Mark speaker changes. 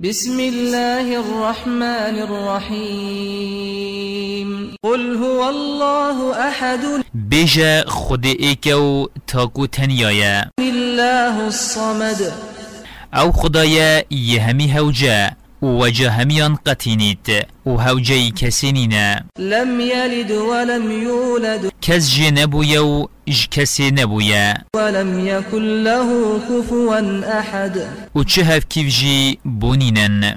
Speaker 1: بسم الله الرحمن الرحيم قل هو الله أحد
Speaker 2: بيجا خدي ايكو تاكو تنيايا
Speaker 1: الله الصمد
Speaker 2: او خدايا يهمي هوجا وجه هميان قتينيت وهوجي كسينينا
Speaker 1: لم يلد ولم يولد
Speaker 2: كز جي نبويا وج كسي نبويا
Speaker 1: ولم يكن له كفوا أحد
Speaker 2: وچهف كيف جي بونينن